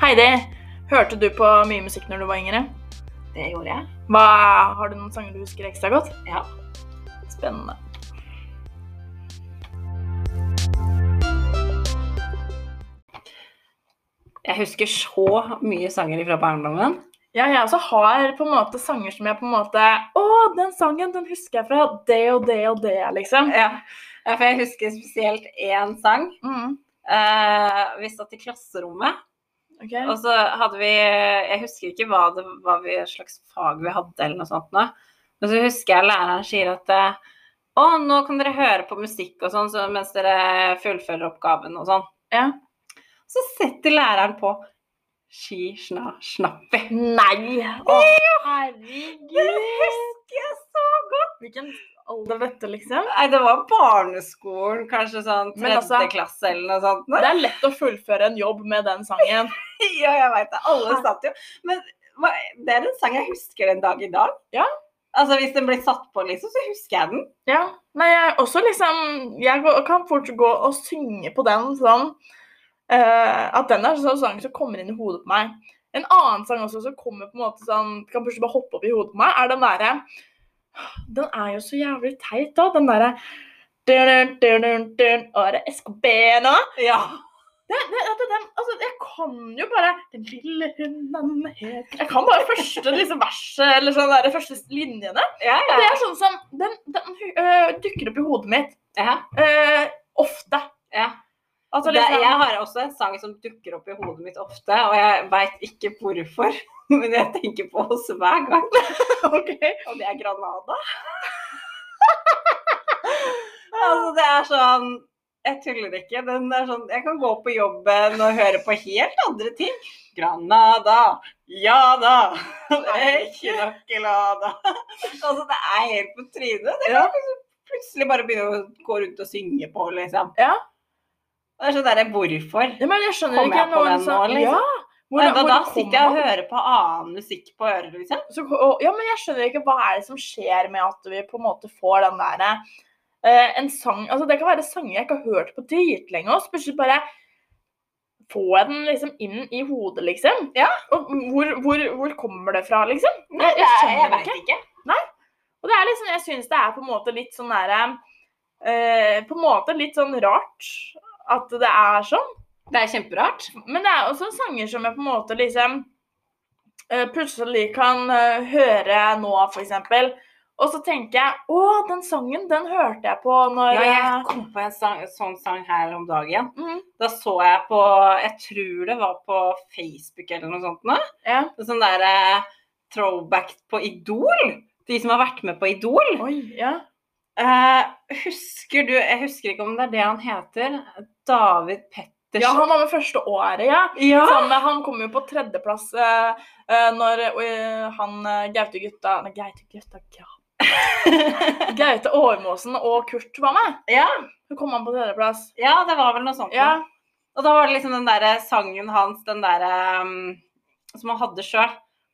Heidi, hørte du på mye musikk når du var yngre? Det gjorde jeg. Hva, har du noen sanger du husker ekstra godt? Ja. Spennende. Jeg husker så mye sanger fra barndommen. Ja, jeg også har på en måte sanger som jeg på en måte Å, den sangen den husker jeg fra det og det og det, liksom. Ja. Ja, For jeg husker spesielt én sang. Mm, Eh, vi satt i klasserommet, ok. og så hadde vi Jeg husker ikke hva, det, hva vi, slags fag vi hadde, eller noe sånt. Nå. Men så husker jeg læreren sier at eh, å, nå kan dere høre på musikk og sånn så mens dere fullfører oppgaven og sånn. Ja. Så setter læreren på Ski, sna, snappi. Nei! Å, herregud! husker jeg så Hvilken alder dette, liksom? Nei, det var barneskolen, kanskje sånn Men tredje altså- klasse eller noe sånt. nå. Det er lett å fullføre en jobb med den sangen. Ja, jeg veit det. Ah. Alle satt jo. Men hva- det er en sang jeg husker den dag i dag. Ja. Altså Hvis den blir satt på, liksom, så husker jeg den. Ja. Nei, jeg er også liksom Jeg gå- kan fort gå og synge på den sånn eh, At den er en sånn sang som kommer inn i hodet på meg. En annen sang også som kommer på en måte sånn Kan plutselig bare hoppe opp i hodet på meg, er den derre Den er jo så jævlig teit, da. Den derre dun, dun, dun, dun, og er det SKB nå? Ja. Det, det, at den, altså, jeg kan jo bare Den lille hunden heter Jeg kan bare første liksom, verset, eller sånn der, de første linjene. ja, Og ja. det er sånn som Den, den øh, dukker opp i hodet mitt ja. øh, ofte. ja. Altså, det, liksom, jeg har også en sang som dukker opp i hodet mitt ofte, og jeg veit ikke hvorfor. Men jeg tenker på oss hver gang. ok. Og det er Granada. altså, det er sånn Jeg tuller ikke. Den er sånn, jeg kan gå på jobben og høre på helt andre ting. Granada, ja da. Ikke noe lada. Altså, det er helt på trynet. Det kan Ja. jeg liksom plutselig bare begynne å gå rundt og synge på, liksom. Ja. Det er sånn derre hvorfor. Ja, men jeg skjønner Kommer ikke jeg på noen den som- nå, liksom? Ja. Og Hvordan- da, da hvordan sitter jeg og kommer man? hører på annen musikk på øret, liksom. Så, og, ja, men jeg skjønner ikke hva er det som skjer med at vi på en måte får den derre eh, En sang Altså, det kan være sanger jeg ikke har hørt på dritlenge, og så plutselig bare får jeg den liksom inn i hodet, liksom. Ja. Og hvor, hvor, hvor kommer det fra, liksom? Nei, jeg skjønner vet ikke. ikke. Og det er liksom Jeg syns det er på en måte litt sånn derre eh, På en måte litt sånn rart at det er sånn. Det er kjemperart. Men det er også sanger som jeg på en måte liksom eh, plutselig kan eh, høre nå, f.eks. Og så tenker jeg å, den sangen den hørte jeg på når Ja, jeg jeg- kom på en sang, sånn sang her om dagen. Mhm, Da så jeg på Jeg tror det var på Facebook eller noe sånt. Nå. ja. Sånn derre throwback på Idol. De som har vært med på Idol. Oi, ja. Eh, husker du Jeg husker ikke om det er det han heter. David Pettersen. ja, han var med første året, ja. Ja. Sammen med, han kom jo på tredjeplass eh, eh, når eh, han eh, Gaute Gutta Nei, Gaute Gutta ja. Gaute Årmåsen og Kurt var med. ja. Så kom han på tredjeplass. Ja, det var vel noe sånt. nå. Ja. Og da var det liksom den derre sangen hans, den derre um, som han hadde sjøl.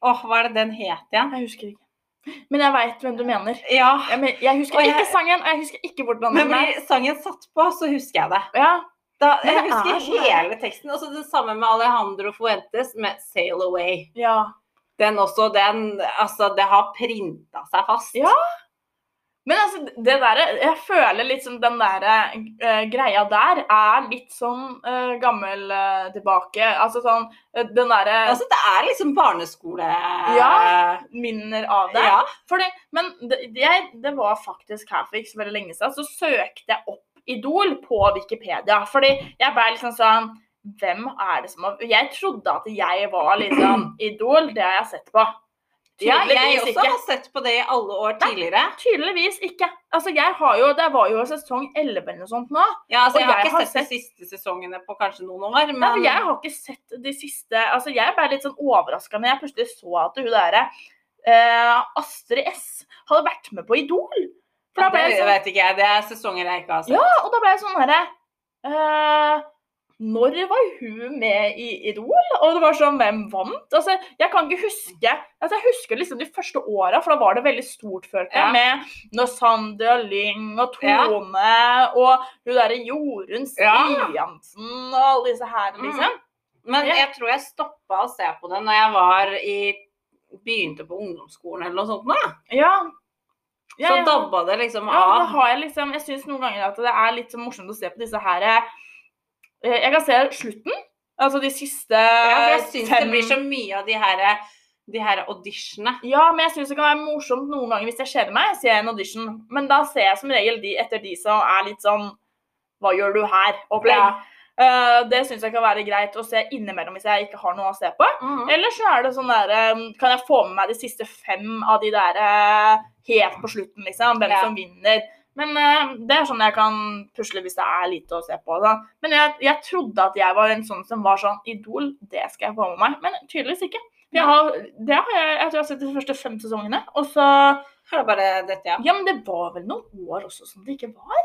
Åh, hva er det den het igjen? Jeg husker ikke. Men jeg veit hvem du mener. Ja. Ja, men jeg husker Og jeg- ikke sangen, og jeg husker ikke hvordan Men den er. blir sangen satt på, så husker jeg det. Ja, Da, Men jeg det er sånn, husker så bra. hele teksten. Og så det samme med Alejandro Fuentes med 'Sail Away'. ja. Den også, den Altså, det har printa seg fast. Ja. Men altså, det der, jeg føler litt som den der eh, greia der er litt sånn eh, gammel eh, tilbake. Altså sånn eh, Den derre Altså, det er liksom barneskole... Ja. minner av det. Ja. Fordi, men det, jeg, det var faktisk her for ikke så veldig lenge siden, så søkte jeg opp Idol på Wikipedia. Fordi jeg ble liksom sånn Hvem er det som har Jeg trodde at jeg var liksom Idol, det har jeg sett på. ja, jeg Tydeligvis også ikke. har sett på det i alle år tidligere. Tydeligvis ikke. Altså, jeg har jo, Det var jo sesong 11 eller noe sånt nå. Ja, altså, Og jeg har jeg ikke har sett, de siste sesongene på kanskje noen år, Nei, for men jeg har ikke sett de siste altså Jeg ble litt sånn overraska når jeg plutselig så at hun derre eh, Astrid S hadde vært med på Idol. For da ble jeg det sånn, vet ikke jeg. Det er sesonger jeg ikke har sett. ja, og da ble jeg sånn herre eh, Når var hun med i Idol? Og det var sånn Hvem vant? Altså, jeg kan ikke huske altså Jeg husker liksom de første åra, for da var det veldig stort, følte jeg, Ja. med når Sandra Lyng og Ja. Tone og hun derre Jorunn Ja. Mm. Stiansen og alle disse her, liksom. Men Ja. jeg tror jeg stoppa å se på det når jeg var i Begynte på ungdomsskolen eller noe sånt. nå. Ja. Så Ja, ja. dabba det liksom Ja, da av. har jeg liksom Jeg syns noen ganger at det er litt så morsomt å se på disse her eh, Jeg kan se slutten. Altså de siste Ja, for eh, jeg syns det blir så mye av de her, eh, de her auditionene. Ja, men jeg syns det kan være morsomt noen ganger hvis jeg kjeder meg, ser jeg en audition. Men da ser jeg som regel de etter de som er litt sånn Hva gjør du her? opplegg. Ja. Eh, det syns jeg kan være greit å se innimellom hvis jeg ikke har noe å se på. Mhm. Eller så er det sånn der eh, Kan jeg få med meg de siste fem av de der eh, helt på slutten, liksom? Hvem Ja. som vinner. Men eh, det er sånn jeg kan pusle hvis det er lite å se på. Da. Men jeg, jeg trodde at jeg var en sånn som var sånn Idol, det skal jeg få med meg. Men tydeligvis ikke. For Jeg, har, det har jeg, jeg tror jeg har sett de første fem sesongene. Og så Har det bare dette, ja. Ja, men det var vel noen år også som det ikke var.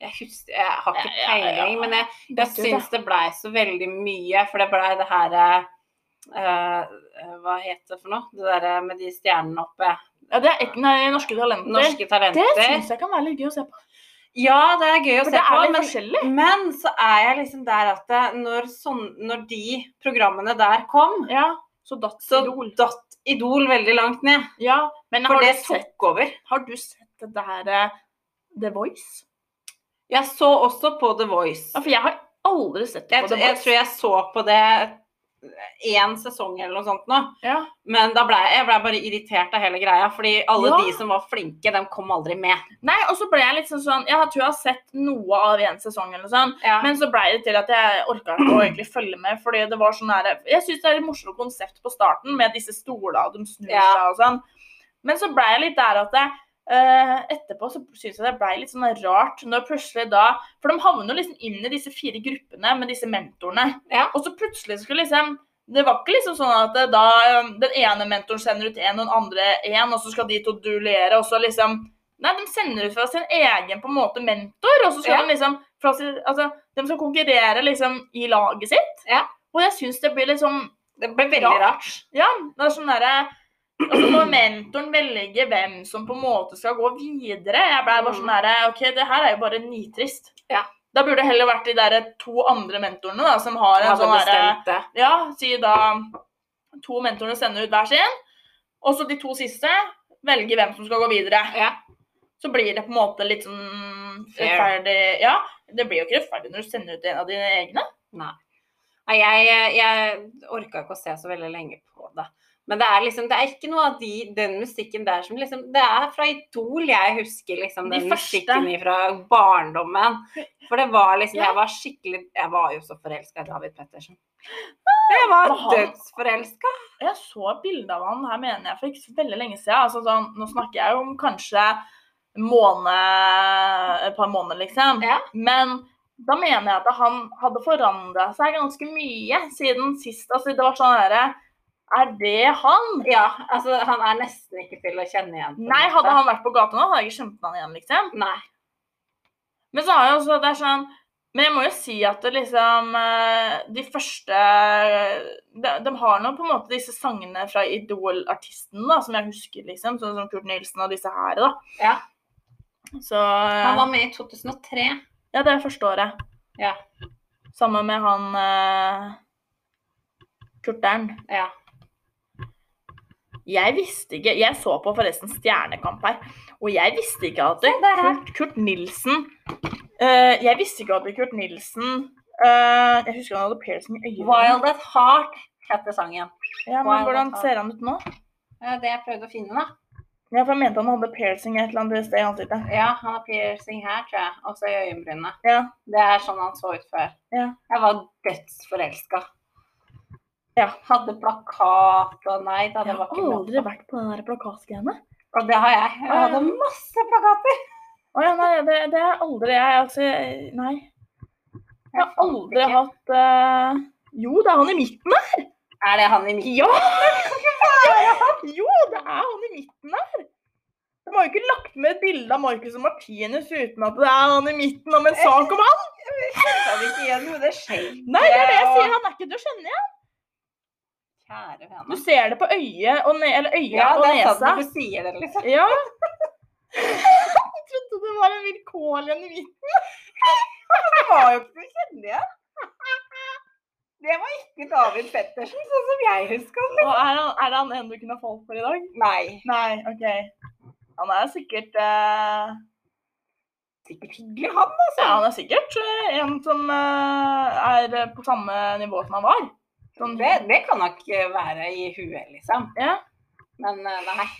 Jeg, husker, jeg har ikke Ja, ja, ja. peiling, men jeg, jeg Vet du det? syns det blei så veldig mye, for det blei det her eh, eh, Hva het det for noe? Det derre med de stjernene oppe. Ja, det er ikke nei, norske talenter. Norske det talenter. syns jeg kan være litt gøy å se på. Ja, det er gøy å For se det er på, litt men forskjellig. Men så er jeg liksom der at det, når, sånn, når de programmene der kom, Ja, så datt så Idol. datt Idol veldig langt ned. Ja, men For har det du sett tok over. Har du sett det der eh, The Voice? Jeg så også på The Ja, Voice. for jeg har aldri sett det Jeg, på tr- The jeg Voice. tror jeg så på det én sesong eller noe sånt nå. Ja. Men da ble jeg, jeg ble bare irritert av hele greia, fordi alle Ja. de som var flinke, de kom aldri med. Nei, og så ble jeg litt sånn sånn Jeg tror jeg har sett noe av en sesong eller noe sånt. Ja. Men så blei det til at jeg orka ikke å egentlig følge med. fordi det var sånn der, Jeg syns det er et morsomt konsept på starten med disse stolene og de snur Ja. seg og sånn. Men så blei jeg litt der at jeg, eh, etterpå så syns jeg det blei litt sånn rart når plutselig da For de havner jo liksom inn i disse fire gruppene med disse mentorene. Ja. Og så plutselig skulle liksom det var ikke liksom sånn at det, da eh, den ene mentoren sender ut en og den andre en, og så skal de to duellere, og så liksom Nei, de sender ut fra sin egen på en måte mentor, og så skal Ja. de liksom fra sin, altså, De skal konkurrere liksom i laget sitt. Ja. Og jeg syns det blir liksom Det ble veldig Ja. rart. Ja, det er sånn derre og så må mentoren velge hvem som på en måte skal gå videre. Jeg ble bare Mm. sånn derre OK, det her er jo bare nitrist. Ja. Da burde det heller vært de derre to andre mentorene da, som har en Hadde sånn derre bestemt det. ja, si da to mentorene sender ut hver sin, og så de to siste velger hvem som skal gå videre. Ja. Så blir det på en måte litt sånn Fair. rettferdig Ja, det blir jo ikke rettferdig når du sender ut en av dine egne. Nei, jeg, eh, jeg orka ikke å se så veldig lenge på det. Men det er liksom, det er ikke noe av de, den musikken der som liksom Det er fra Idol jeg husker liksom De den første. musikken fra barndommen. For det var liksom Ja. Jeg var skikkelig Jeg var jo så forelska i David Pettersen. Jeg Ah! var Men han- dødsforelska. Og jeg så et bilde av han her mener jeg for ikke så veldig lenge siden. Altså, sånn, nå snakker jeg jo om kanskje en måned Et par måneder, liksom. Ja. Men da mener jeg at han hadde forandra seg ganske mye siden sist. Altså, det var sånn herre Er det han? Ja, altså han er nesten ikke til å kjenne igjen. på en Nei, måte. hadde han vært på gata nå, hadde jeg ikke skjønt han igjen, liksom. Nei. Men så har jeg også, det er sånn Men jeg må jo si at det liksom eh, De første De, de har nå på en måte disse sangene fra Idol-artisten, da, som jeg husker, liksom. Sånn som Kurt Nilsen og disse her, da. Ja. Så eh, Han var med i 2003. Ja, det er første året. Ja. Sammen med han eh, Kurtern. Ja. Jeg visste ikke Jeg så på forresten Stjernekamp her, og jeg visste ikke at Se der, ja. Kurt, Kurt Nilsen eh, Jeg visste ikke at Kurt Nilsen eh, Jeg husker han hadde piercing i øynene. Wild at Heart heter sangen. ja, men Wild hvordan at Heart. ser han ut nå? Det er det jeg prøvde å finne, da. Ja, for Jeg mente han hadde piercing et eller annet sted i ansiktet. Ja, han har piercing her, tror jeg. Og så i øyenbrynene. Ja. Det er sånn han så ut før. Ja. Jeg var dødsforelska. Ja. Hadde plakat og nei da, det Jeg var har ikke lov. aldri vært på den der plakatgreiene. Og det har jeg. Jeg hadde masse plakater. Å ja, nei, det, det er aldri jeg. Altså, jeg- nei. Jeg har fant aldri ikke. hatt eh, Jo, det er han i midten der! Er det han i midten? Ja! Jo, det er han i midten der! De har jo ikke lagt med et bilde av Marcus og Martinus uten at det er han i midten om en sak om han! Jeg vet ikke igjen, men det skjer. Nei, det er det jeg sier! Han er ikke til å skjønne igjen! Kjære Du vene. ser det på øyet og, ne eller øya Ja, og det er sant nesa. at du sier det, liksom. Ja. Jeg trodde det var en vilkårlig en i midten. Det var jo ikke til å kjenne igjen. Det var ikke David Pettersen, sånn som jeg husker han. Og er han, er han en du kunne falt for i dag? Nei. Nei, OK. Han er sikkert eh, Sikkert hyggelig, han, Ja, altså. han er sikkert eh, en som eh, er på samme nivå som han var. Sånn, Det, det kan nok eh, være i huet, liksom. Ja. Men eh, nei.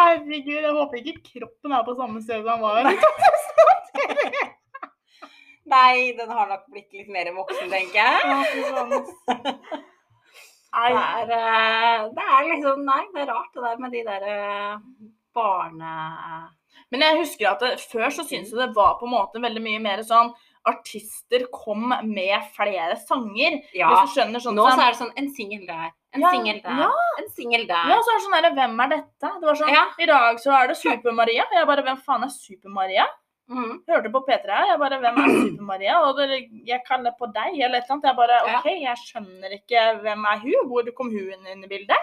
Herregud, jeg håper ikke kroppen er på samme sted som han var. Nei, den har nok blitt litt mer voksen, tenker jeg. Ja, fy faen. Det Nei. er, eh, det er liksom Nei, det er rart det der med de derre barne... Men jeg husker at det, før så syntes jeg det var på en måte veldig mye mer sånn Artister kom med flere sanger. Ja. Hvis du skjønner sånn Nå som- så er det sånn en singel der, en Ja, singel der, ja. en singel Ja, der. så er det sånn der, Hvem er dette? Det var sånn, Ja. I dag så er det Super-Maria. Og jeg bare Hvem faen er Super-Maria? Mhm. Hørte på P3 her. Jeg bare Hvem er Super-Maria? Og det, jeg kaller på deg, eller et eller annet. Jeg bare Ja. OK, jeg skjønner ikke hvem er hun? Hvor kom hun inn i bildet?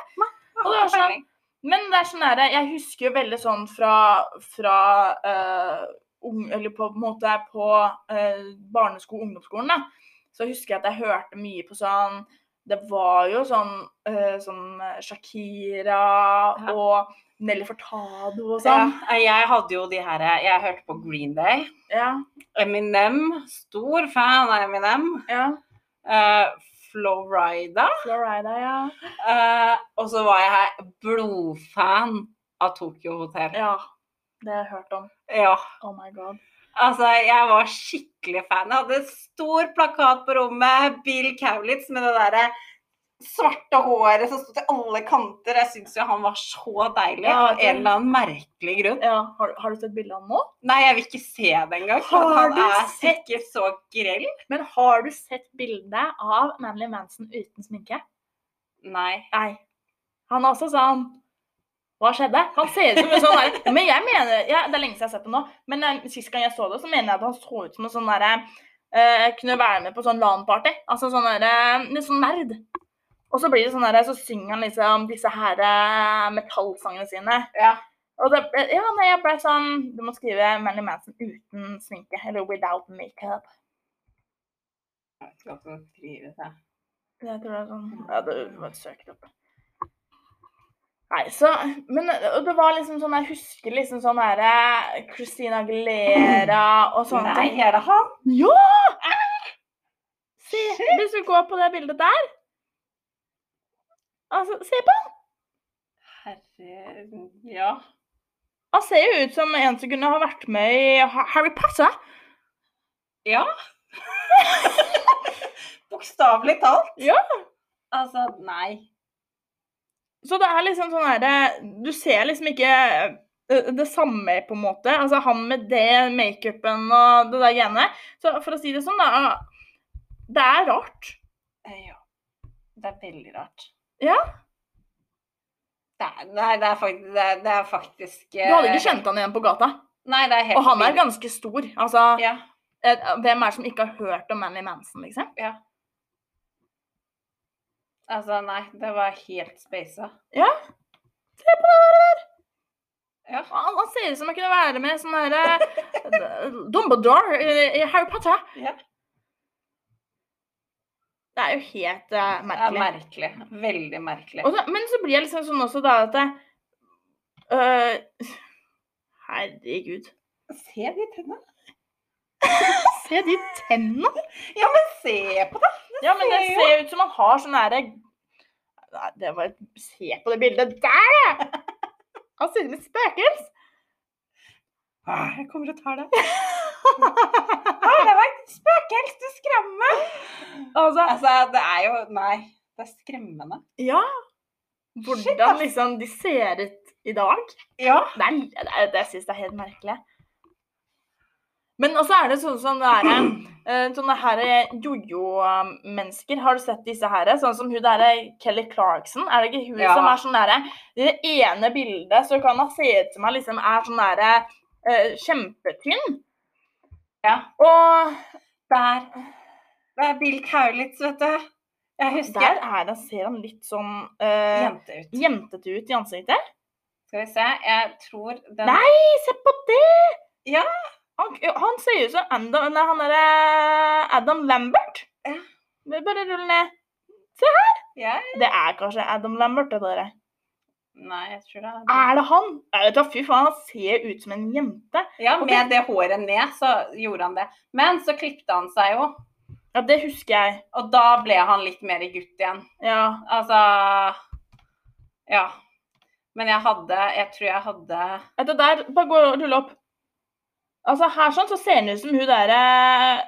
Og det var sånn, Peiling. Men det er sånn der, jeg husker jo veldig sånn fra, fra eh, ung, eller på en måte på eh, barnesko- ungdomsskolen, da. Så husker jeg at jeg hørte mye på sånn Det var jo sånn, eh, sånn Shakira Ja. og Nelly Fortado og Ja, Eh, sånn. jeg hadde jo de her eh, Jeg hørte på Green Day. Ja. Eminem. Stor fan av Eminem. ja. Eh, Florida. Florida, ja. Eh, og så var jeg her blodfan av Tokyo Hotel. Ja. Det har jeg hørt om. Ja. Oh my god. Altså, jeg var skikkelig fan. Jeg hadde stor plakat på rommet. Bill Cowlitz med det derre svarte håret som sto til alle kanter. Jeg syns jo han var så deilig Ja, av det- en eller annen merkelig grunn. Ja, har, har du sett bilde av den nå? Nei, jeg vil ikke se det engang. for Har Han du er sett- sikkert så grell. Men har du sett bildet av Manly Manson uten sminke? Nei. Nei. Han er også sånn Hva skjedde? Han ser ut som en sånn der Men jeg mener ja, Det er lenge siden jeg har sett det nå, men eh, sist gang jeg så det, så mener jeg at han så ut som en sånn derre eh, Kunne være med på sånn LAN-party. Altså sånn derre Litt sånn nerd. Og så blir det sånn derre Så synger han liksom disse her eh, metallsangene sine. Ja. Og det, ble- ja, nei, jeg ble sånn Du må skrive Manly Manson uten sminke. Eller without makeup. Jeg skal også skrive det. Jeg tror det er sånn Ja, det var søkt opp. Nei, så Men og det var liksom sånn Jeg husker liksom sånn herre Christina Aguilera og sånne Nei, ting. er det han? Ja! Se, hvis du går på det bildet der Altså, se på han! Herre Ja. Han ser jo ut som en som kunne ha vært med i Ha- Harry Potter. Ja. Bokstavelig talt. Ja. Altså, nei. Så det er liksom sånn herre Du ser liksom ikke eh, det samme, på en måte. Altså han med det makeupen og det der greiene. Så for å si det sånn, da Det er rart. Eh, Ja. Det er veldig rart. Ja. Det er, nei, det er faktisk, det er, det er faktisk eh, Du hadde ikke kjent han igjen på gata. Nei, det er helt Og han er forbi. ganske stor. Altså, Ja. eh, hvem er det som ikke har hørt om Manly Manson, liksom? Altså, nei. Det var helt spasa. Ja. Se på det der! Ja. Han, han ser ut som han kunne være med sånn herre Dumbledore i i Harry Potter. Ja. Det er jo helt eh, Det er merkelig. merkelig. Veldig merkelig. Og så, men så blir jeg liksom sånn også da at jeg, øh, Herregud. Se de tennene. Se de tennene! Ja, men se på det! Ja, men det ser ser ut som han har sånn derre Nei, det var et Se på det bildet der, ja! Han ser ut som et spøkels! Ah, Jeg kommer og tar det. Ah, det var et spøkels! Du skremmer! Altså, Altså, det er jo Nei, det er skremmende. ja. Shit, Hvordan ass. liksom de ser ut i dag. Ja. Det, er, det, er- det syns jeg er helt merkelig. Men også er det sånn som det er eh, sånne her jojo-mennesker. Har du sett disse her? Sånn som hun derre Kelly Clarkson. Er det ikke hun Ja. som er sånn derre I det ene bildet så kan hun se ut som hun liksom er sånn derre eh, kjempetynn. Ja. Og Der. Det er Bill Kaulitz, vet du. Jeg husker der er det, ser han litt sånn eh, Jente ut. jentete ut i ansiktet. Skal vi se. Jeg tror den Nei! Nei, se på det! Ja. Han, han ser ut som Adam, nei, han derre Adam eh, Lambert. Vi Bare rull ned. Jeg? Det er kanskje Adam Lambert, det der. Nei, jeg tror det er Er det han? Jeg vet da, fy faen, han ser ut som en jente. Ja, Og med det håret ned, så gjorde han det. Men så klipte han seg jo, Ja, det husker jeg. og da ble han litt mer gutt igjen. Ja. Altså Ja. Men jeg hadde Jeg tror jeg hadde Dette der, bare gå og rulle opp. Altså, her sånn så ser han ut som hun derre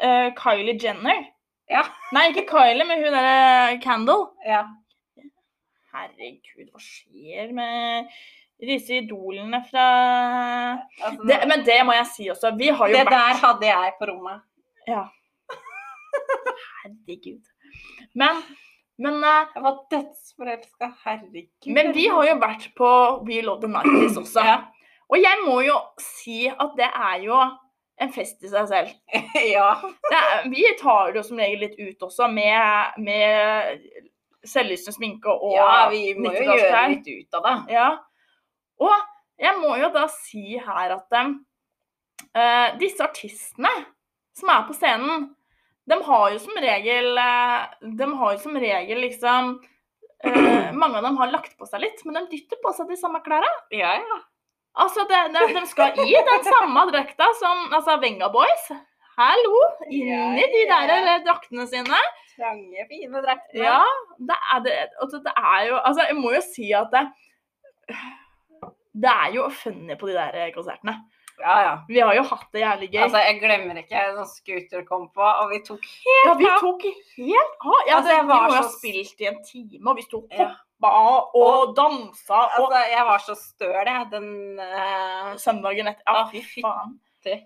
eh, Kylie Jenner. Ja. Nei, ikke Kylie, men hun derre Candle. Ja. Herregud, hva skjer med disse idolene fra Altså, det, Men det må jeg si også. Vi har jo det vært der hadde jeg på rommet. Herregud. Men, men, eh, Jeg var dødsforelska. Herregud. men vi har jo vært på We Love the Nighties også. Ja. Og jeg må jo si at det er jo en fest i seg selv. Ja. det er, vi tar det jo som regel litt ut også, med, med selvlysende sminke og ja, vi må jo gjøre 90-tallsklær. litt ut av det. Ja. Og jeg må jo da si her at em, eh, disse artistene som er på scenen, de har jo som regel eh, De har jo som regel liksom eh, Mange av dem har lagt på seg litt, men de dytter på seg de samme klærne. Ja, ja. Altså, det, det, de skal i den samme drakta som altså, Venga Boys. Hallo! Ja, Inni de der ja. eh, draktene sine. Trange, fine drakter. Ja, det er, det, altså, det er jo Altså, jeg må jo si at det, det er jo funny på de der eh, konsertene. ja, ja. Vi har jo hatt det jævlig gøy. Altså, jeg glemmer ikke da scooter kom på, og vi tok ja, vi tok helt av. Ja, Altså, det, jeg vi var må jo ha så- spilt i en time, og vi sto og Ja. hoppa og dansa og Altså, jeg var så støl, jeg, den eh, Søndagen etter. Ja, ah, Å, fy fytti. faen.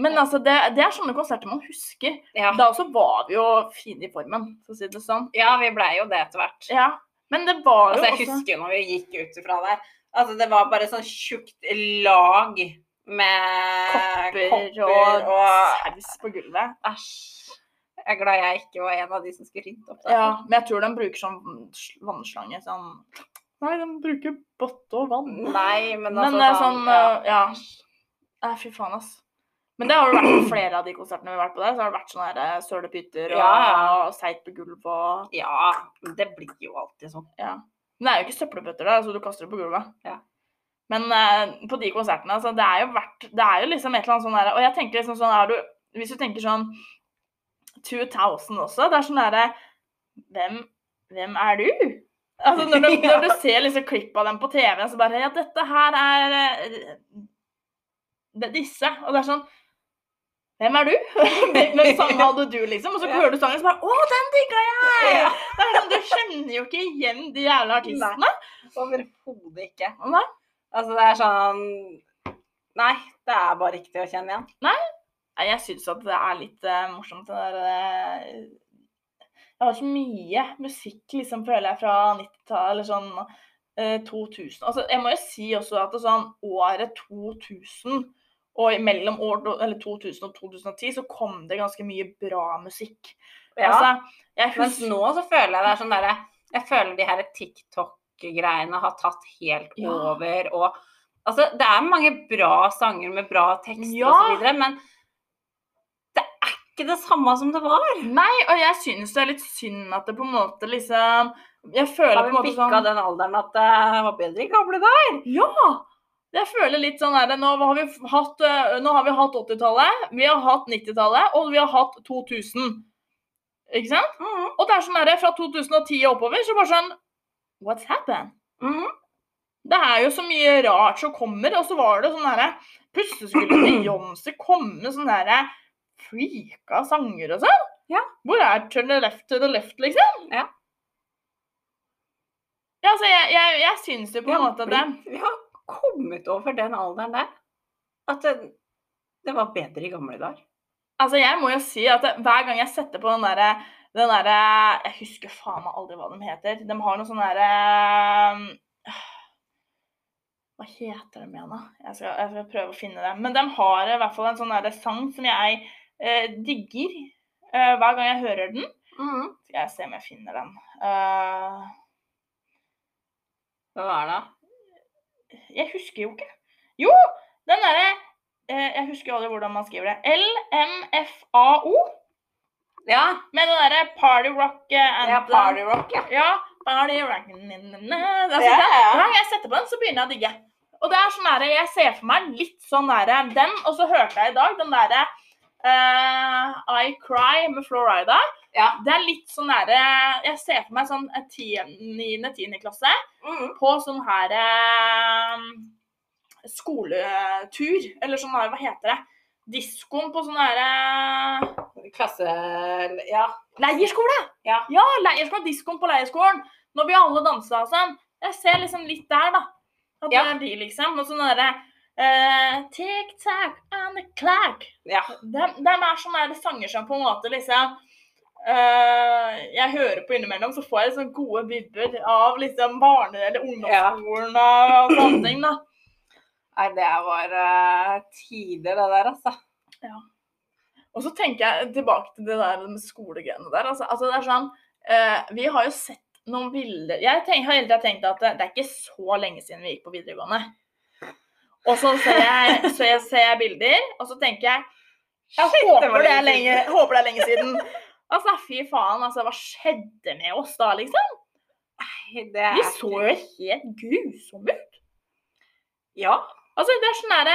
Men altså, det, det er sånne konserter man husker. ja. Da også var vi jo fine i formen, for å si det sånn. ja, vi blei jo det etter hvert. Ja, men det var jo Altså, jeg også husker når vi gikk ut ifra der. Altså, det var bare sånn tjukt lag med kopper, kopper og, og saus på gulvet. Æsj. Jeg er glad jeg ikke var en av de som skulle rydde opp. der. Ja, men jeg tror de bruker sånn sl- vannslange sånn Nei, de bruker bøtte og vann. Nei, men altså Mm. Men det er sånn eh, Ja. Nei, fy faen, ass. Men det har jo vært på flere av de konsertene vi har vært på der. Så har det vært sånne her, eh, sølepytter og, Ja. og seit på gulvet og Ja, det blir jo alltid sånn. Men det er jo ikke søppelbøtter der, så du kaster det på gulvet. Ja. Men eh, på de konsertene, altså, det er jo verdt Det er jo liksom et eller annet sånn der Og jeg tenker liksom sånn er du, Hvis du tenker sånn 2000 også, det er sånn derre hvem, hvem er du? Altså, når, du, Ja. når du ser liksom klipp av dem på TV, så bare Ja, dette her er eh, det, disse. Og det er sånn Hvem er du? Hvem hvem sang hadde du, liksom? Og så Ja. hører du sangen, så bare Å, den digga jeg! Ja. Det er sånn, Du kjenner jo ikke igjen de jævla artistene. Overhodet ikke. Nei. Altså, det er sånn Nei, det er bare ikke til å kjenne igjen. Nei, Jeg syns at det er litt eh, morsomt, det der eh, Jeg har så mye musikk, liksom, føler jeg, fra 90-tallet, eller sånn eh, 2000 Altså, jeg må jo si også at det sånn året 2000 og mellom år, eller 2000 og 2010 så kom det ganske mye bra musikk. Ja. Altså, jeg Mens husker nå så føler jeg det er sånn derre Jeg føler de her TikTok-greiene har tatt helt Ja. over og Altså, det er mange bra sanger med bra tekster Ja. og så videre, men det er ikke det samme som det var. Nei, og jeg syns det er litt synd at det på en måte liksom Jeg føler på Har en vi måte bikka sånn den alderen at eh, det var bedre i gamle dager? Ja! Jeg føler litt sånn der, Nå har vi f- hatt, eh, nå har vi hatt 80-tallet, vi har hatt 90-tallet, og vi har hatt 2000. Ikke sant? Mm, Og det er sånn der, fra 2010 og oppover, så bare sånn What's happened? Mhm. Det er jo så mye rart som kommer, og så var det sånn derre Plutselig skulle Beyoncé komme med sånne derre freaka sanger og sånn. Ja. Hvor er turn the left to the left, liksom? Ja. Ja, altså, jeg, jeg, jeg syns jo på Vi en har måte at det blitt- Vi har kommet over den alderen der. At det, det var bedre i gamle dager. Altså, jeg må jo si at det- hver gang jeg setter på den derre den derre Jeg husker faen meg aldri hva de heter. De har noe sånn derre um, Hva heter de igjen, da? Jeg skal, jeg skal prøve å finne det. Men de har i hvert fall en sånn derre sang som jeg eh, digger eh, hver gang jeg hører den. Mm. Skal jeg se om jeg finner den. Eh, Hva var det? jeg husker jo ikke. Jo! Den derre eh, Jeg husker jo aldri hvordan man skriver det. LMFAO. Ja, Men den derre party rock eh, det er anthem- party rock, ja. Ja, party rock na, na, na. Altså, Ja, den- ja. Hver gang jeg setter på den, så begynner jeg å digge. Og det er sånn der, Jeg ser for meg litt sånn derre den, og så hørte jeg i dag den derre eh, I Cry med Florida. Ja. Det er litt sånn derre Jeg ser for meg sånn 9.-10. klasse Mm. på sånn her eh, skoletur, eller sånn her, hva heter det? Diskoen på sånn her eh, Klasse... Ja. Leirskole! Ja. ja leirskole, diskoen på leirskolen. Når vi alle dansa og sånn. Jeg ser liksom litt der, da. At Ja. det er de, liksom. Og sånn derre eh, Tic-tac and the clack. Ja. Dem, dem er sånne der sanger som på en måte liksom eh, Jeg hører på innimellom, så får jeg liksom gode vibber av liksom barne- eller ungdomsskolen og sånne ting, da. Nei, det var eh, tider, det der, altså. Og så tenker jeg tilbake til det der med skolegreiene der. Altså, altså det er sånn, eh, Vi har jo sett noen bilder Jeg tenk, har hele tida tenkt at det, det er ikke så lenge siden vi gikk på videregående. Og så ser jeg, så jeg ser jeg bilder, og så tenker jeg Jeg Shit, det var håper det er lenge lenge, siden. håper det er lenge siden. Altså, fy faen, altså, hva skjedde med oss da, liksom? Nei, det er Vi så jo helt grusomme ut. Ja. Altså, det er sånn derre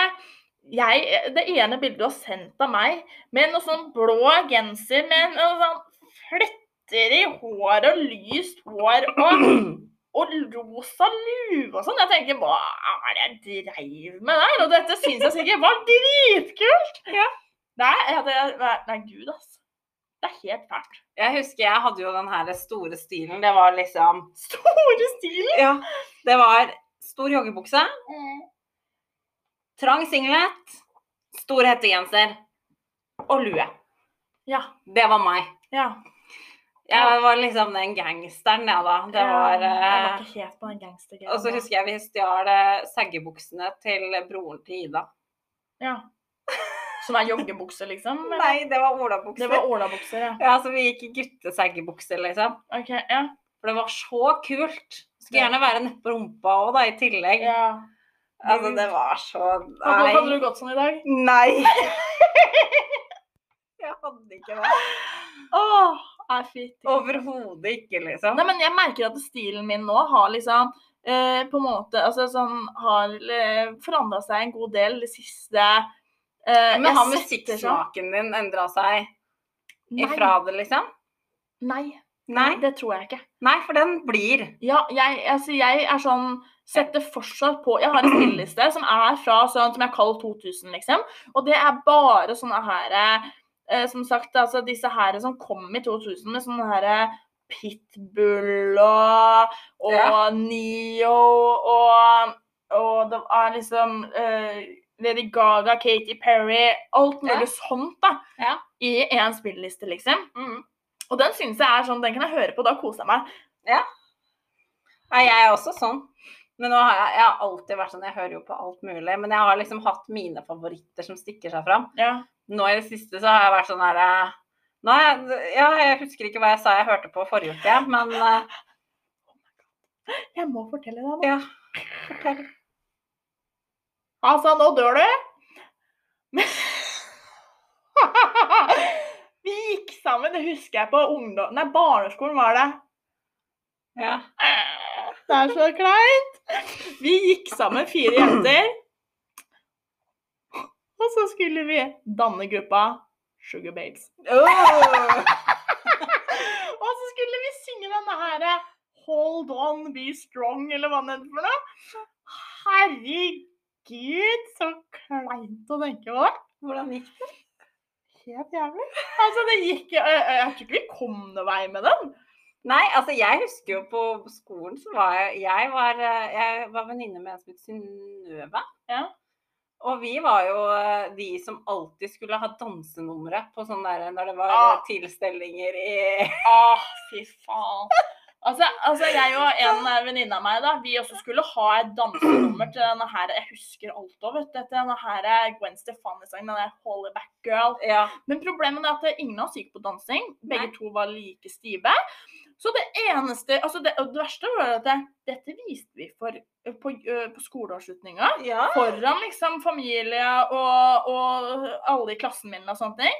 jeg, Det ene bildet du har sendt av meg, med noe sånn blå genser med noe sånn fletter i håret og lyst hår og, og rosa lue og sånn. Jeg tenker hva er det jeg dreiv med der? Og dette syns jeg sikkert var dritkult! Ja. Nei, ja, det, nei, nei, gud, ass. Det er helt fælt. Jeg husker jeg hadde jo den her store stilen. Det var liksom Store stilen! Ja. Det var stor joggebukse, trang singlet, stor hettegenser og lue. Ja. Det var meg. ja. Jeg var liksom den gangsteren, jeg, da. Det Jeg var var altså, eh, ikke helt på den gangstergreia. Og så husker jeg vi stjal eh, saggebuksene til broren til Ida. Ja. Som er joggebukse, liksom? eller? Nei, det var Det olabukser. var olabukser, ja. Ja, så vi gikk i guttesaggebukser, liksom. Ok, ja. For det var så kult. Skulle gjerne være nedpå rumpa òg, da, i tillegg. ja. Altså, det var så Hadde, hadde Nei. du gått sånn i dag? Nei. Jeg hadde ikke det. Åh, nei, fy. Overhodet ikke, liksom. Nei, men jeg merker at stilen min nå har liksom eh, på en måte, altså sånn, har eh, forandret seg en god del det siste eh, Men jeg har setter sånn- musikksmaken din endra seg Nei, ifra det, liksom? Nei, Nei. det tror jeg ikke. Nei, for den blir. Ja, jeg, altså, jeg er sånn Setter fortsatt på Jeg har en spilleliste som er fra sånn som jeg kaller 2000, liksom. Og det er bare sånne her eh, Som sagt, altså disse her som kom i 2000 med sånne her eh, Pitbull og, og Ja. Neo og, og det er liksom eh, Lady Gaga, Katy Perry Alt Ja. mulig sånt, da. Ja. I én spilleliste, liksom. Og den syns jeg er sånn, den kan jeg høre på, da koser jeg meg. Nei, jeg er også sånn. Men nå har jeg, jeg har alltid vært sånn, jeg hører jo på alt mulig. Men jeg har liksom hatt mine favoritter som stikker seg fram. Ja. Nå i det siste så har jeg vært sånn her eh, nå har jeg, ja, jeg husker ikke hva jeg sa jeg hørte på forrige uke, men eh, Jeg må fortelle deg noe. ja. Fortell. Altså, nå dør du. Men- Vi gikk sammen, det husker jeg på ungdom... Nei, barneskolen var det. Ja. Det er så kleint. Vi gikk sammen, fire jenter. Og så skulle vi danne gruppa Sugar Babes. Og så skulle vi synge denne her eh, Hold on, be strong, eller hva det heter for noe. Herregud, så kleint å tenke på det. Hvordan gikk det? Helt jævlig. Altså, det gikk Jeg, jeg, jeg tror ikke vi kom noen vei med den. Nei, altså jeg husker jo på skolen så var jeg Jeg var, eh, jeg var venninne med en som het Synnøve. Ja. Og vi var jo eh, de som alltid skulle ha dansenumre på sånn der når det var Ah. eh, tilstelninger i Åh, fy faen. Altså, altså, jeg og en eh, venninne av meg, da, vi også skulle ha et dansenummer til denne her Jeg husker alt òg, vet du. Til denne her eh, Gwen Stefani-sangen, den der 'Holy Back Girl'. Ja. Men problemet er at ingen av oss gikk på dansing. Begge Nei. to var like stive. Så det eneste altså det, og det verste var at det, dette viste vi for, eh, på, på skoleavslutninga. ja. foran liksom familie og, og alle i klassen min og sånne ting.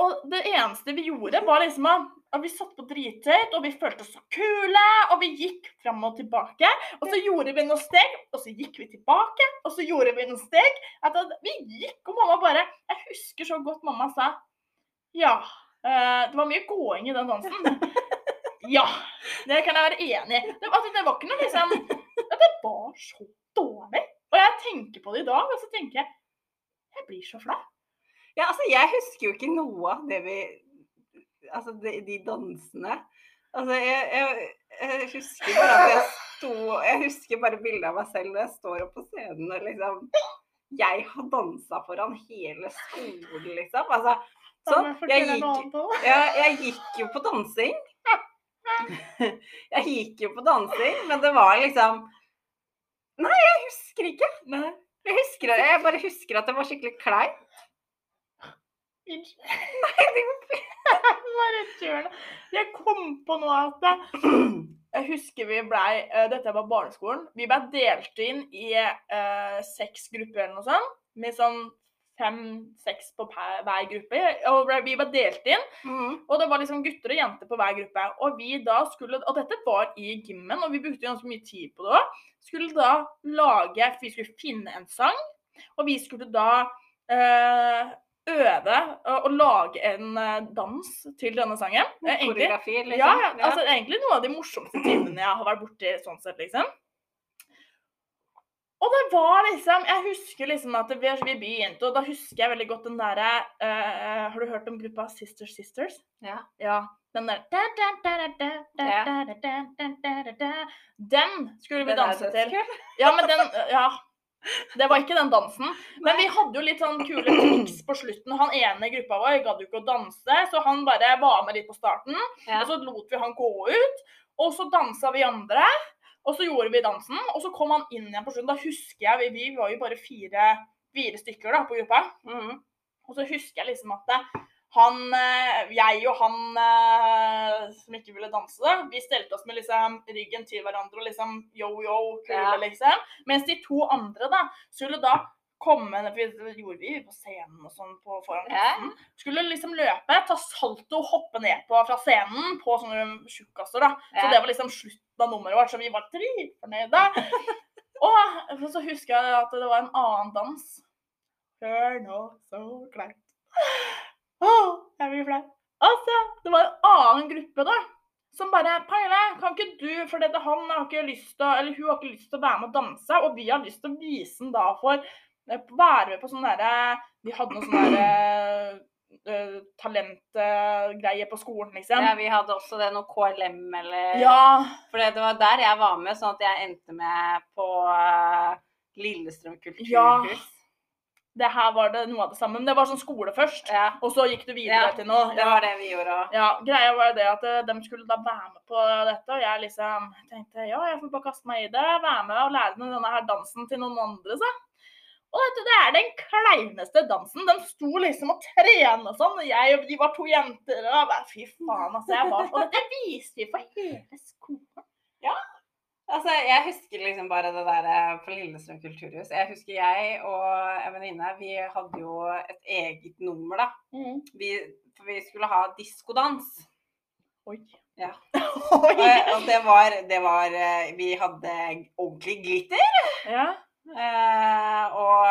Og det eneste vi gjorde, var liksom at at vi satt på drithøyt, og vi følte oss så kule, og vi gikk fram og tilbake. Og så gjorde vi noen steg, og så gikk vi tilbake, og så gjorde vi noen steg. At at vi gikk, og mamma bare Jeg husker så godt mamma sa Ja, eh, det var mye gåing i den dansen. Ja, det kan jeg være enig i. Det, altså, det var ikke noe liksom ja, Det var så dårlig. Og jeg tenker på det i dag, og så tenker jeg Jeg blir så flau. Ja, altså, jeg husker jo ikke noe av det vi Altså, de, de dansene. Altså, jeg, jeg, jeg husker bare at jeg sto Jeg husker bare bildet av meg selv når jeg står oppe på scenen og liksom Jeg har dansa foran hele skolen, liksom. Altså, sånn. Jeg gikk, ja, jeg gikk jo på dansing. Jeg gikk jo på dansing, men det var liksom Nei, jeg husker ikke. Nei, Jeg, husker, jeg bare husker at det var skikkelig klein. unnskyld. Bare kjør det. Jeg kom på nå at Jeg husker vi blei eh, Dette var barneskolen. Vi blei delt inn i eh, seks grupper eller noe sånt. Med sånn fem-seks på per, hver gruppe. Og ble- vi var delt inn. Mm. Og det var liksom gutter og jenter på hver gruppe. Og vi da skulle, og dette var i gymmen, og vi brukte ganske mye tid på det òg. Skulle da lage Vi skulle finne en sang, og vi skulle da eh, øve og, og lage en eh, dans til denne sangen. Eh, egentlig, Koreografi, liksom. ja, ja, altså egentlig noen av de morsomste timene jeg har vært borti sånn sett, liksom. Og det var liksom Jeg husker liksom at vi, vi begynte, og da husker jeg veldig godt den derre eh, Har du hørt om gruppa Sisters Sisters? Ja. Ja. Den der da, da, da, da, da, da, Ja. da, da, da, da, da, da, da. Den skulle vi Den er danse til. dødskult. Ja, men den Ja. Det var ikke den dansen. Men vi Nei. hadde jo litt sånn kule triks på slutten. Han ene i gruppa vår gadd jo ikke å danse, så han bare var med litt på starten. Ja. Og så lot vi han gå ut, og så dansa vi andre. Og så gjorde vi dansen, og så kom han inn igjen på slutten. Da husker jeg, vi, vi var jo bare fire, fire stykker da på gruppa. Mhm. Og så husker jeg liksom at det- han, eh, jeg og han eh, som ikke ville danse, da, vi stelte oss med liksom ryggen til hverandre og liksom yo-yo, kule, Ja. liksom. Mens de to andre da, skulle da komme for Det gjorde vi på scenen og sånn på foran Ja. klassen. Skulle liksom løpe, ta salto, hoppe ned på fra scenen på sånne tjukkaser, da. Så Ja. det var liksom slutten av nummeret vårt, så vi var dritfornøyde. og så husker jeg at det var en annen dans. Før nå så kleint. Åh, jeg blir flau. Altså, det var en annen gruppe, da. Som bare Pernille, kan ikke du For dette, han har ikke lyst til å Eller hun har ikke lyst til å være med og danse, og vi har lyst til å vise den da for Være med på sånn derre Vi hadde noe sånn derre eh, talentgreie på skolen, liksom. ja, vi hadde også det noe KLM eller Ja. For det var der jeg var med, sånn at jeg endte med på eh, Lillestrøm kulturhus. Det her var det noe av det samme. Men det var sånn skole først, Ja. og så gikk du videre Ja, til noe. Det var det vi gjorde òg. Ja, greia var jo det at eh, de skulle da være med på dette, og jeg liksom tenkte ja, jeg får bare kaste meg i det, være med og lære meg denne her dansen til noen andre, så. Og vet du, det er den kleineste dansen. De sto liksom og trena sånn, og jeg og de var to jenter, og jeg bare fy faen, altså. Jeg var, og dette viste vi for hele skolen. Altså, jeg husker liksom bare det der eh, på Lillestrøm kulturhus. Jeg husker jeg og en venninne, vi hadde jo et eget nummer, da. Vi, for vi skulle ha diskodans. Oi. Ja. Og, Oi. og det var, det var eh, Vi hadde ordentlig glitter. Ja. eh, Og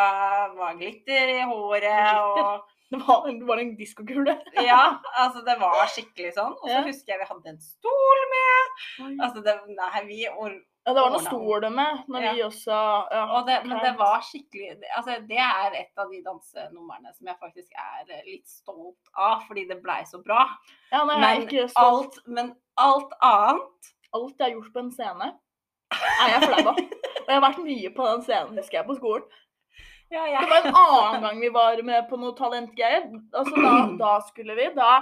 var glitter i håret Glitter? og Det var, det var en diskokule. Ja, altså det var skikkelig sånn. Og så Ja. husker jeg vi hadde en stol med. Ja, Altså det, nei, vi or- det var noe ordna om. stol med når vi også ja, og det, Men det kleint. var skikkelig det- Altså det er et av de dansenumrene som jeg faktisk er eh, litt stolt av, fordi det blei så bra. ja, nei, jeg er Men ikke stolt. alt, men alt annet alt jeg har gjort på en scene, er jeg flau av. Og jeg har vært mye på den scenen, husker jeg, på skolen. ja, Det jeg, var en annen gang vi var med på noe talentgreier. Altså, da, da skulle vi da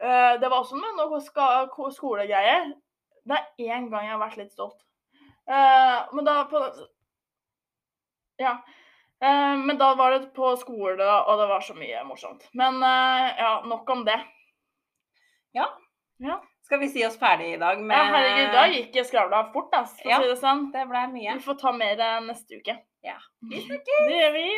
eh, Det var også med noe ska- ko- skolegreier. Det er én gang jeg har vært litt stolt. Eh, men da på Ja. Eh, men da var det på skole, og det var så mye morsomt. Men eh, ja, nok om det. Skal vi si oss ferdig i dag med Ja, herregud, da gikk skravla fort, ass, for Ja. å si det sånn. Det blei mye. Vi får ta mer eh, neste uke. Ja. Det gjør vi.